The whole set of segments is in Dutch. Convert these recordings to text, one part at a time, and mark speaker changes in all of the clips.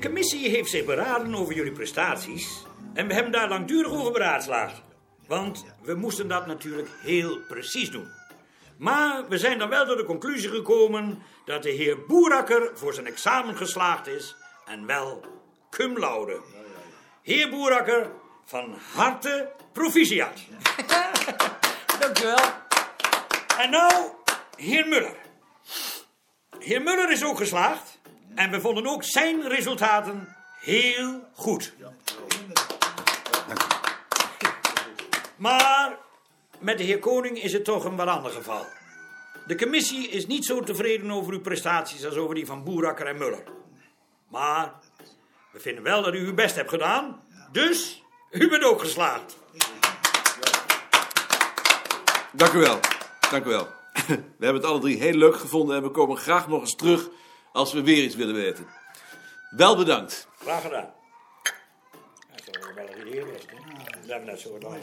Speaker 1: commissie heeft zich beraden over jullie prestaties. En we hebben daar langdurig over beraadslaagd. Want we moesten dat natuurlijk heel precies doen. Maar we zijn dan wel tot de conclusie gekomen dat de heer Boerakker voor zijn examen geslaagd is. En wel cum laude. Heer Boerakker, van harte proficiat.
Speaker 2: Dankjewel.
Speaker 1: En nou, heer Muller. Heer Muller is ook geslaagd. En we vonden ook zijn resultaten heel goed. Maar met de heer Koning is het toch een wat ander geval. De commissie is niet zo tevreden over uw prestaties als over die van Boerakker en Muller. Maar we vinden wel dat u uw best hebt gedaan. Dus u bent ook geslaagd.
Speaker 3: Dank u wel. Dank u wel. We hebben het alle drie heel leuk gevonden en we komen graag nog eens terug als we weer iets willen weten. Wel bedankt.
Speaker 1: Graag gedaan. Dat is wel een idee, dat is het, hè? Dat net zo lang.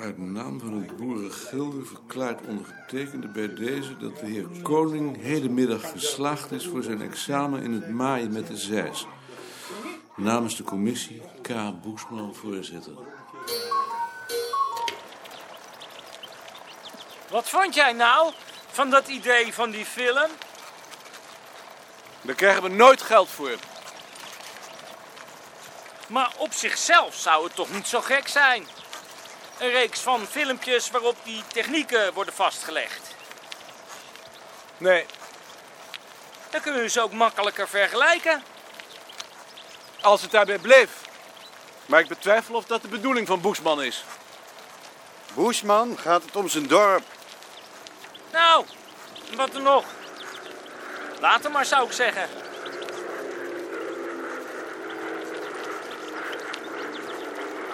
Speaker 3: Uit naam van het Boerengilde verklaart ondergetekende bij deze dat de heer Koning hedenmiddag geslaagd is voor zijn examen in het maaien met de zeis. Namens de commissie K. Boesman voorzitter.
Speaker 2: Wat vond jij nou van dat idee van die film?
Speaker 3: Daar krijgen we nooit geld voor.
Speaker 2: Maar op zichzelf zou het toch niet zo gek zijn? Een reeks van filmpjes waarop die technieken worden vastgelegd.
Speaker 3: Nee,
Speaker 2: Dan kunnen we ze ook makkelijker vergelijken.
Speaker 3: als het daarbij bleef. Maar ik betwijfel of dat de bedoeling van Boesman is.
Speaker 4: Boesman gaat het om zijn dorp.
Speaker 2: Nou, wat er nog? Later maar zou ik zeggen.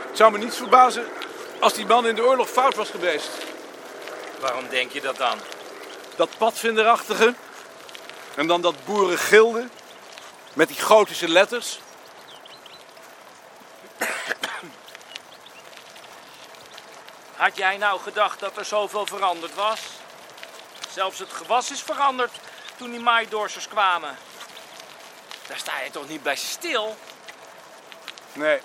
Speaker 3: Het zou me niets verbazen als die man in de oorlog fout was geweest.
Speaker 2: Waarom denk je dat dan?
Speaker 3: Dat padvinderachtige. En dan dat boerengilde. Met die gotische letters.
Speaker 2: Had jij nou gedacht dat er zoveel veranderd was? Zelfs het gewas is veranderd toen die maaidoorsers kwamen. Daar sta je toch niet bij stil?
Speaker 3: Nee.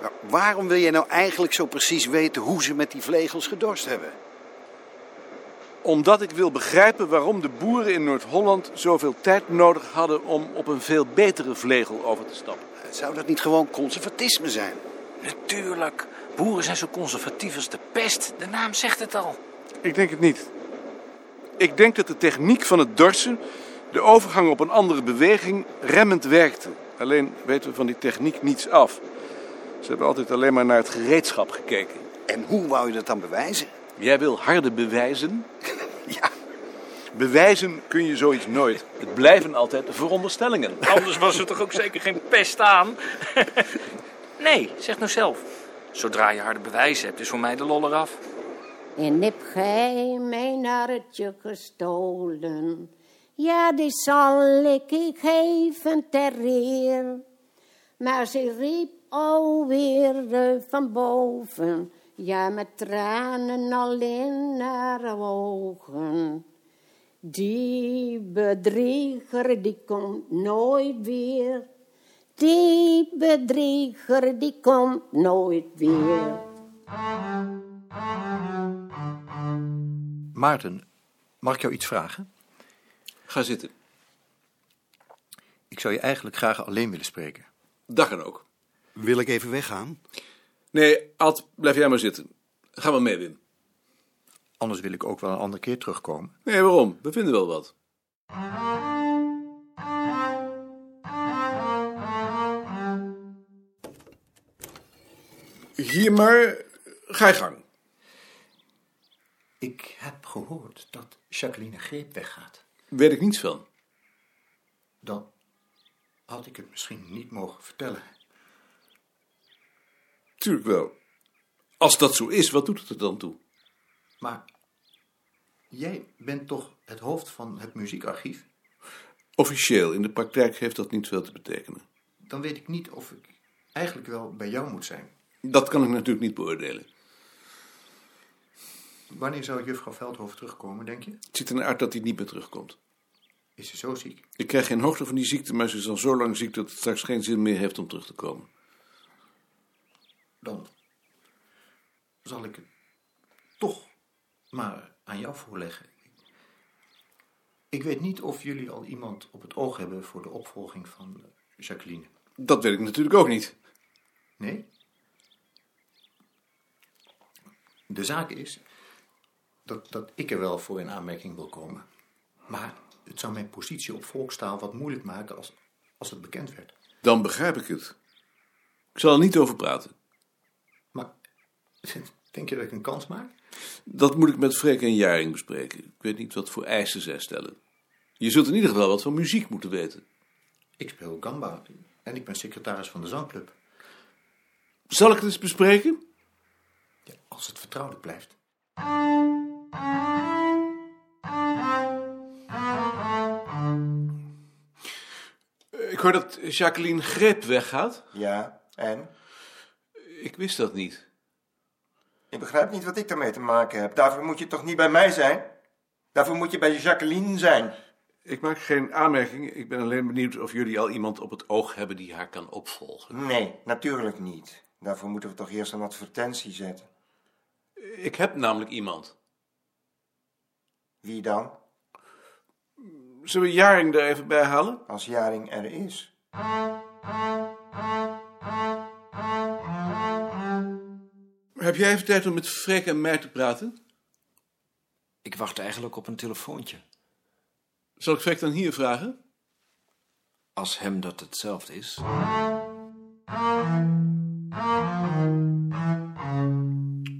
Speaker 4: Nou, waarom wil jij nou eigenlijk zo precies weten hoe ze met die vlegels gedorst hebben?
Speaker 3: Omdat ik wil begrijpen waarom de boeren in Noord-Holland zoveel tijd nodig hadden om op een veel betere vlegel over te stappen.
Speaker 4: Zou dat niet gewoon conservatisme zijn?
Speaker 2: Natuurlijk. Boeren zijn zo conservatief als de pest. De naam zegt het al.
Speaker 3: Ik denk het niet. Ik denk dat de techniek van het dorsen, de overgang op een andere beweging, remmend werkte. Alleen weten we van die techniek niets af. Ze hebben altijd alleen maar naar het gereedschap gekeken.
Speaker 4: En hoe wou je dat dan bewijzen?
Speaker 3: Jij wil harde bewijzen?
Speaker 4: Ja,
Speaker 3: Bewijzen kun je zoiets nooit. Het blijven altijd veronderstellingen.
Speaker 2: Anders was er toch ook zeker geen pest aan? nee, zeg nou zelf. Zodra je harde bewijzen hebt, is voor mij de lol eraf.
Speaker 5: En heb gij mijn narretje gestolen? Ja, die zal ik je geven ter eer. Maar ze riep alweer eh, van boven, ja, met tranen al in haar ogen. Die bedrieger, die komt nooit weer. Die bedrieger, die komt nooit weer.
Speaker 6: Maarten, mag ik jou iets vragen?
Speaker 3: Ga zitten.
Speaker 6: Ik zou je eigenlijk graag alleen willen spreken.
Speaker 3: Dag en ook.
Speaker 4: Wil ik even weggaan?
Speaker 3: Nee, Ad, blijf jij maar zitten. Ga maar mee, Wim.
Speaker 6: Anders wil ik ook wel een andere keer terugkomen.
Speaker 3: Nee, waarom? We vinden wel wat. Hier maar, ga je gang.
Speaker 6: Ik heb gehoord dat Jacqueline Greep weggaat.
Speaker 3: Weet ik niets van.
Speaker 6: Dan had ik het misschien niet mogen vertellen.
Speaker 3: Tuurlijk wel. Als dat zo is, wat doet het er dan toe?
Speaker 6: Maar jij bent toch het hoofd van het muziekarchief?
Speaker 3: Officieel, in de praktijk heeft dat niet veel te betekenen.
Speaker 6: Dan weet ik niet of ik eigenlijk wel bij jou moet zijn.
Speaker 3: Dat kan ik natuurlijk niet beoordelen.
Speaker 6: Wanneer zou juffrouw Veldhoven terugkomen, denk je?
Speaker 3: Het ziet er naar uit dat hij niet meer terugkomt.
Speaker 6: Is ze zo ziek?
Speaker 3: Ik krijg geen hoogte van die ziekte, maar ze is al zo lang ziek dat het straks geen zin meer heeft om terug te komen.
Speaker 6: Dan zal ik het toch maar aan jou voorleggen. Ik weet niet of jullie al iemand op het oog hebben voor de opvolging van eh, Jacqueline.
Speaker 3: Dat weet ik natuurlijk ook niet.
Speaker 6: Nee? De zaak is dat, dat ik er wel voor in aanmerking wil komen. Maar het zou mijn positie op volkstaal wat moeilijk maken als, als het bekend werd.
Speaker 3: Dan begrijp ik het. Ik zal er niet over praten.
Speaker 6: Maar denk je dat ik een kans maak?
Speaker 3: Dat moet ik met Freek en Jaring bespreken. Ik weet niet wat voor eisen zij stellen. Je zult in ieder geval wat van muziek moeten weten.
Speaker 6: Ik speel gamba en ik ben secretaris van de zangclub.
Speaker 3: Zal ik het eens bespreken?
Speaker 6: Ja, als het vertrouwelijk blijft.
Speaker 3: Ik hoor dat Jacqueline Greep weggaat.
Speaker 7: Ja, en?
Speaker 3: Ik wist dat niet.
Speaker 7: Je begrijpt niet wat ik daarmee te maken heb. Daarvoor moet je toch niet bij mij zijn? Daarvoor moet je bij Jacqueline zijn.
Speaker 3: Ik maak geen aanmerking. Ik ben alleen benieuwd of jullie al iemand op het oog hebben die haar kan opvolgen.
Speaker 7: Nee, natuurlijk niet. Daarvoor moeten we toch eerst een advertentie zetten.
Speaker 3: Ik heb namelijk iemand.
Speaker 7: Wie dan?
Speaker 3: Zullen we Jaring er even bij halen?
Speaker 7: Als Jaring er is.
Speaker 3: Heb jij even tijd om met Freek en mij te praten?
Speaker 8: Ik wacht eigenlijk op een telefoontje.
Speaker 3: Zal ik Freek dan hier vragen?
Speaker 8: Als hem dat hetzelfde is.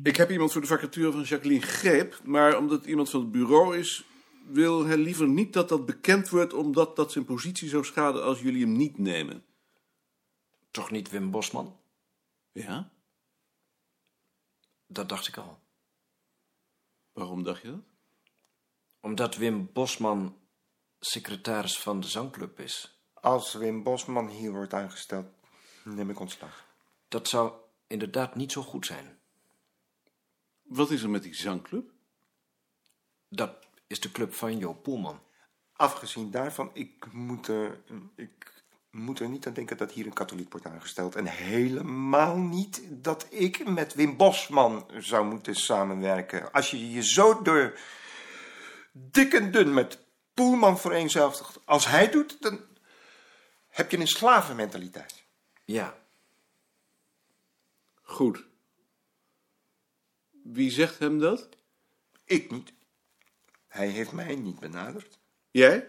Speaker 3: Ik heb iemand voor de vacature van Jacqueline Greep, maar omdat het iemand van het bureau is, wil hij liever niet dat dat bekend wordt, omdat dat zijn positie zou schaden als jullie hem niet nemen.
Speaker 8: Toch niet Wim Bosman?
Speaker 3: Ja?
Speaker 8: Dat dacht ik al.
Speaker 3: Waarom dacht je dat?
Speaker 8: Omdat Wim Bosman secretaris van de zangclub is.
Speaker 7: Als Wim Bosman hier wordt aangesteld, neem ik ontslag.
Speaker 8: Dat zou inderdaad niet zo goed zijn.
Speaker 3: Wat is er met die zangclub?
Speaker 8: Dat is de club van Jo Poelman.
Speaker 7: Afgezien daarvan, ik moet er, ik moet er niet aan denken dat hier een katholiek wordt aangesteld. En helemaal niet dat ik met Wim Bosman zou moeten samenwerken. Als je je zo door dik en dun met Poelman vereenzelvigt als hij doet, dan heb je een slavenmentaliteit.
Speaker 8: Ja,
Speaker 3: Goed. Wie zegt hem dat?
Speaker 7: Ik niet. Hij heeft mij niet benaderd.
Speaker 3: Jij?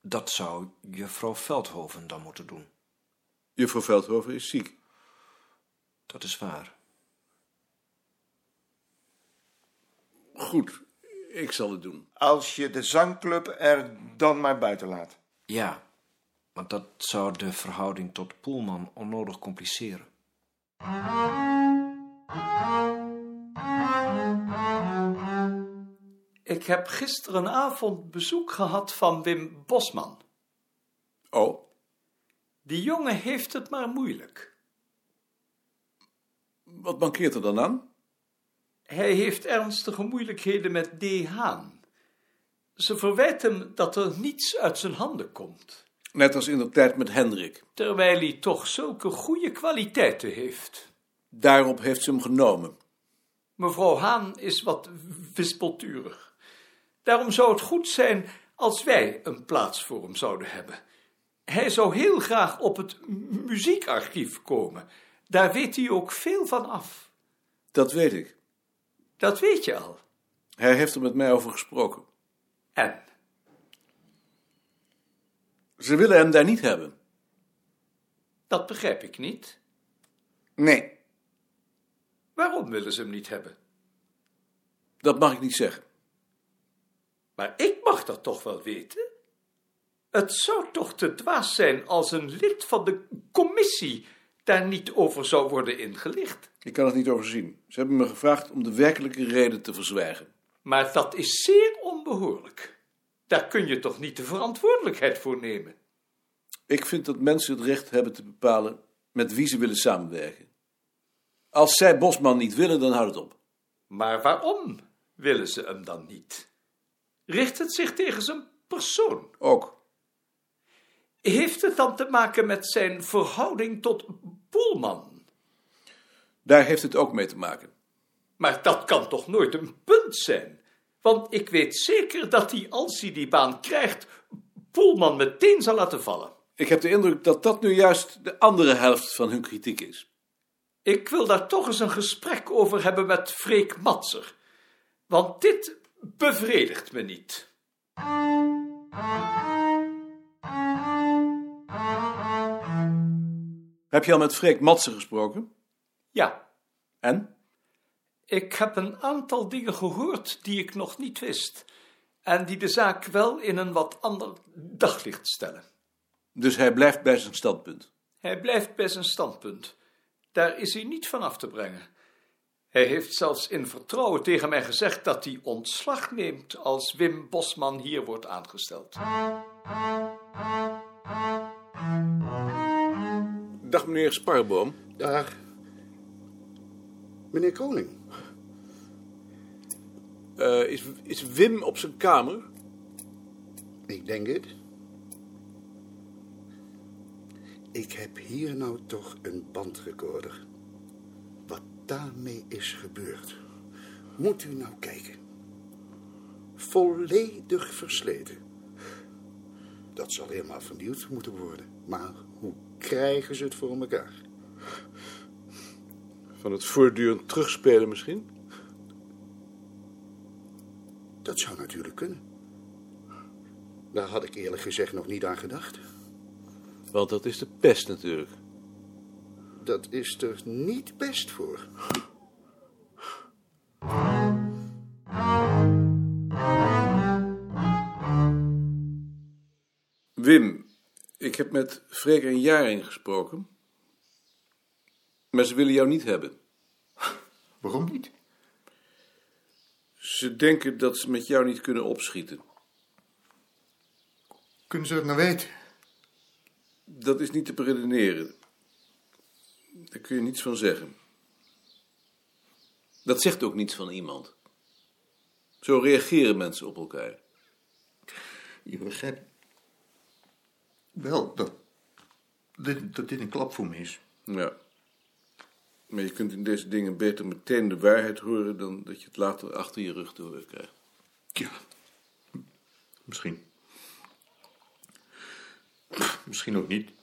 Speaker 8: dat zou juffrouw Veldhoven dan moeten doen.
Speaker 3: Juffrouw Veldhoven is ziek.
Speaker 8: Dat is waar.
Speaker 3: Goed, ik zal het doen.
Speaker 7: Als je de zangclub er dan maar buiten laat.
Speaker 8: Ja, want dat zou de verhouding tot Poelman onnodig compliceren.
Speaker 9: Ik heb gisterenavond bezoek gehad van Wim Bosman.
Speaker 3: Oh,
Speaker 9: Die jongen heeft het maar moeilijk.
Speaker 3: wat mankeert er dan aan?
Speaker 9: Hij heeft ernstige moeilijkheden met D. Haan. Ze verwijt hem dat er niets uit zijn handen komt,
Speaker 3: Net als in de tijd met Hendrik.
Speaker 9: terwijl hij toch zulke goede kwaliteiten heeft.
Speaker 3: Daarop heeft ze hem genomen.
Speaker 9: Mevrouw Haan is wat wispelturig. Daarom zou het goed zijn als wij een plaats voor hem zouden hebben. Hij zou heel graag op het mu- muziekarchief komen. Daar weet hij ook veel van af.
Speaker 3: Dat weet ik.
Speaker 9: Dat weet je al.
Speaker 3: Hij heeft er met mij over gesproken.
Speaker 9: En?
Speaker 3: Ze willen hem daar niet hebben.
Speaker 9: Dat begrijp ik niet.
Speaker 3: Nee.
Speaker 9: Waarom willen ze hem niet hebben?
Speaker 3: Dat mag ik niet zeggen.
Speaker 9: Maar ik mag dat toch wel weten? Het zou toch te dwaas zijn als een lid van de commissie daar niet over zou worden ingelicht?
Speaker 3: Ik kan het niet overzien. Ze hebben me gevraagd om de werkelijke reden te verzwijgen.
Speaker 9: Maar dat is zeer onbehoorlijk. Daar kun je toch niet de verantwoordelijkheid voor nemen?
Speaker 3: Ik vind dat mensen het recht hebben te bepalen met wie ze willen samenwerken. Als zij Bosman niet willen, dan houdt het op.
Speaker 6: Maar waarom willen ze hem dan niet? Richt het zich tegen zijn persoon?
Speaker 3: Ook.
Speaker 6: Heeft het dan te maken met zijn verhouding tot Boelman?
Speaker 3: Daar heeft het ook mee te maken.
Speaker 6: Maar dat kan toch nooit een punt zijn? Want ik weet zeker dat hij, als hij die baan krijgt, Boelman meteen zal laten vallen.
Speaker 3: Ik heb de indruk dat dat nu juist de andere helft van hun kritiek is.
Speaker 6: Ik wil daar toch eens een gesprek over hebben met Freek Matser. Want dit bevredigt me niet.
Speaker 3: Heb je al met Freek Matsen gesproken?
Speaker 6: Ja,
Speaker 3: En?
Speaker 6: ik heb een aantal dingen gehoord die ik nog niet wist. En die de zaak wel in een wat ander daglicht stellen.
Speaker 3: Dus hij blijft bij zijn standpunt.
Speaker 6: Hij blijft bij zijn standpunt. Daar is hij niet van af te brengen. Hij heeft zelfs in vertrouwen tegen mij gezegd dat hij ontslag neemt als Wim Bosman hier wordt aangesteld.
Speaker 3: Dag meneer Sparboom.
Speaker 10: Dag. Meneer Koning.
Speaker 3: Eh, is, is Wim op zijn kamer?
Speaker 10: Ik denk het. Ik heb hier nou toch een bandrecorder. Wat daarmee is gebeurd. Moet u nou kijken. Volledig versleten. Dat zal helemaal vernieuwd moeten worden. Maar hoe krijgen ze het voor elkaar?
Speaker 3: Van het voortdurend terugspelen misschien?
Speaker 10: Dat zou natuurlijk kunnen. Daar had ik eerlijk gezegd nog niet aan gedacht.
Speaker 3: Want dat is de pest natuurlijk.
Speaker 10: Dat is er niet best voor.
Speaker 3: Wim, ik heb met Freek en Jaring gesproken. Maar ze willen jou niet hebben.
Speaker 11: Waarom niet?
Speaker 3: Ze denken dat ze met jou niet kunnen opschieten.
Speaker 11: Kunnen ze dat nou weten?
Speaker 3: Dat is niet te beredeneren. Daar kun je niets van zeggen. Dat zegt ook niets van iemand. Zo reageren mensen op elkaar.
Speaker 11: Je begrijpt wel dat dit, dat dit een klap voor me is.
Speaker 3: Ja. Maar je kunt in deze dingen beter meteen de waarheid horen dan dat je het later achter je rug te horen krijgt.
Speaker 11: Ja, misschien. Misschien ook niet.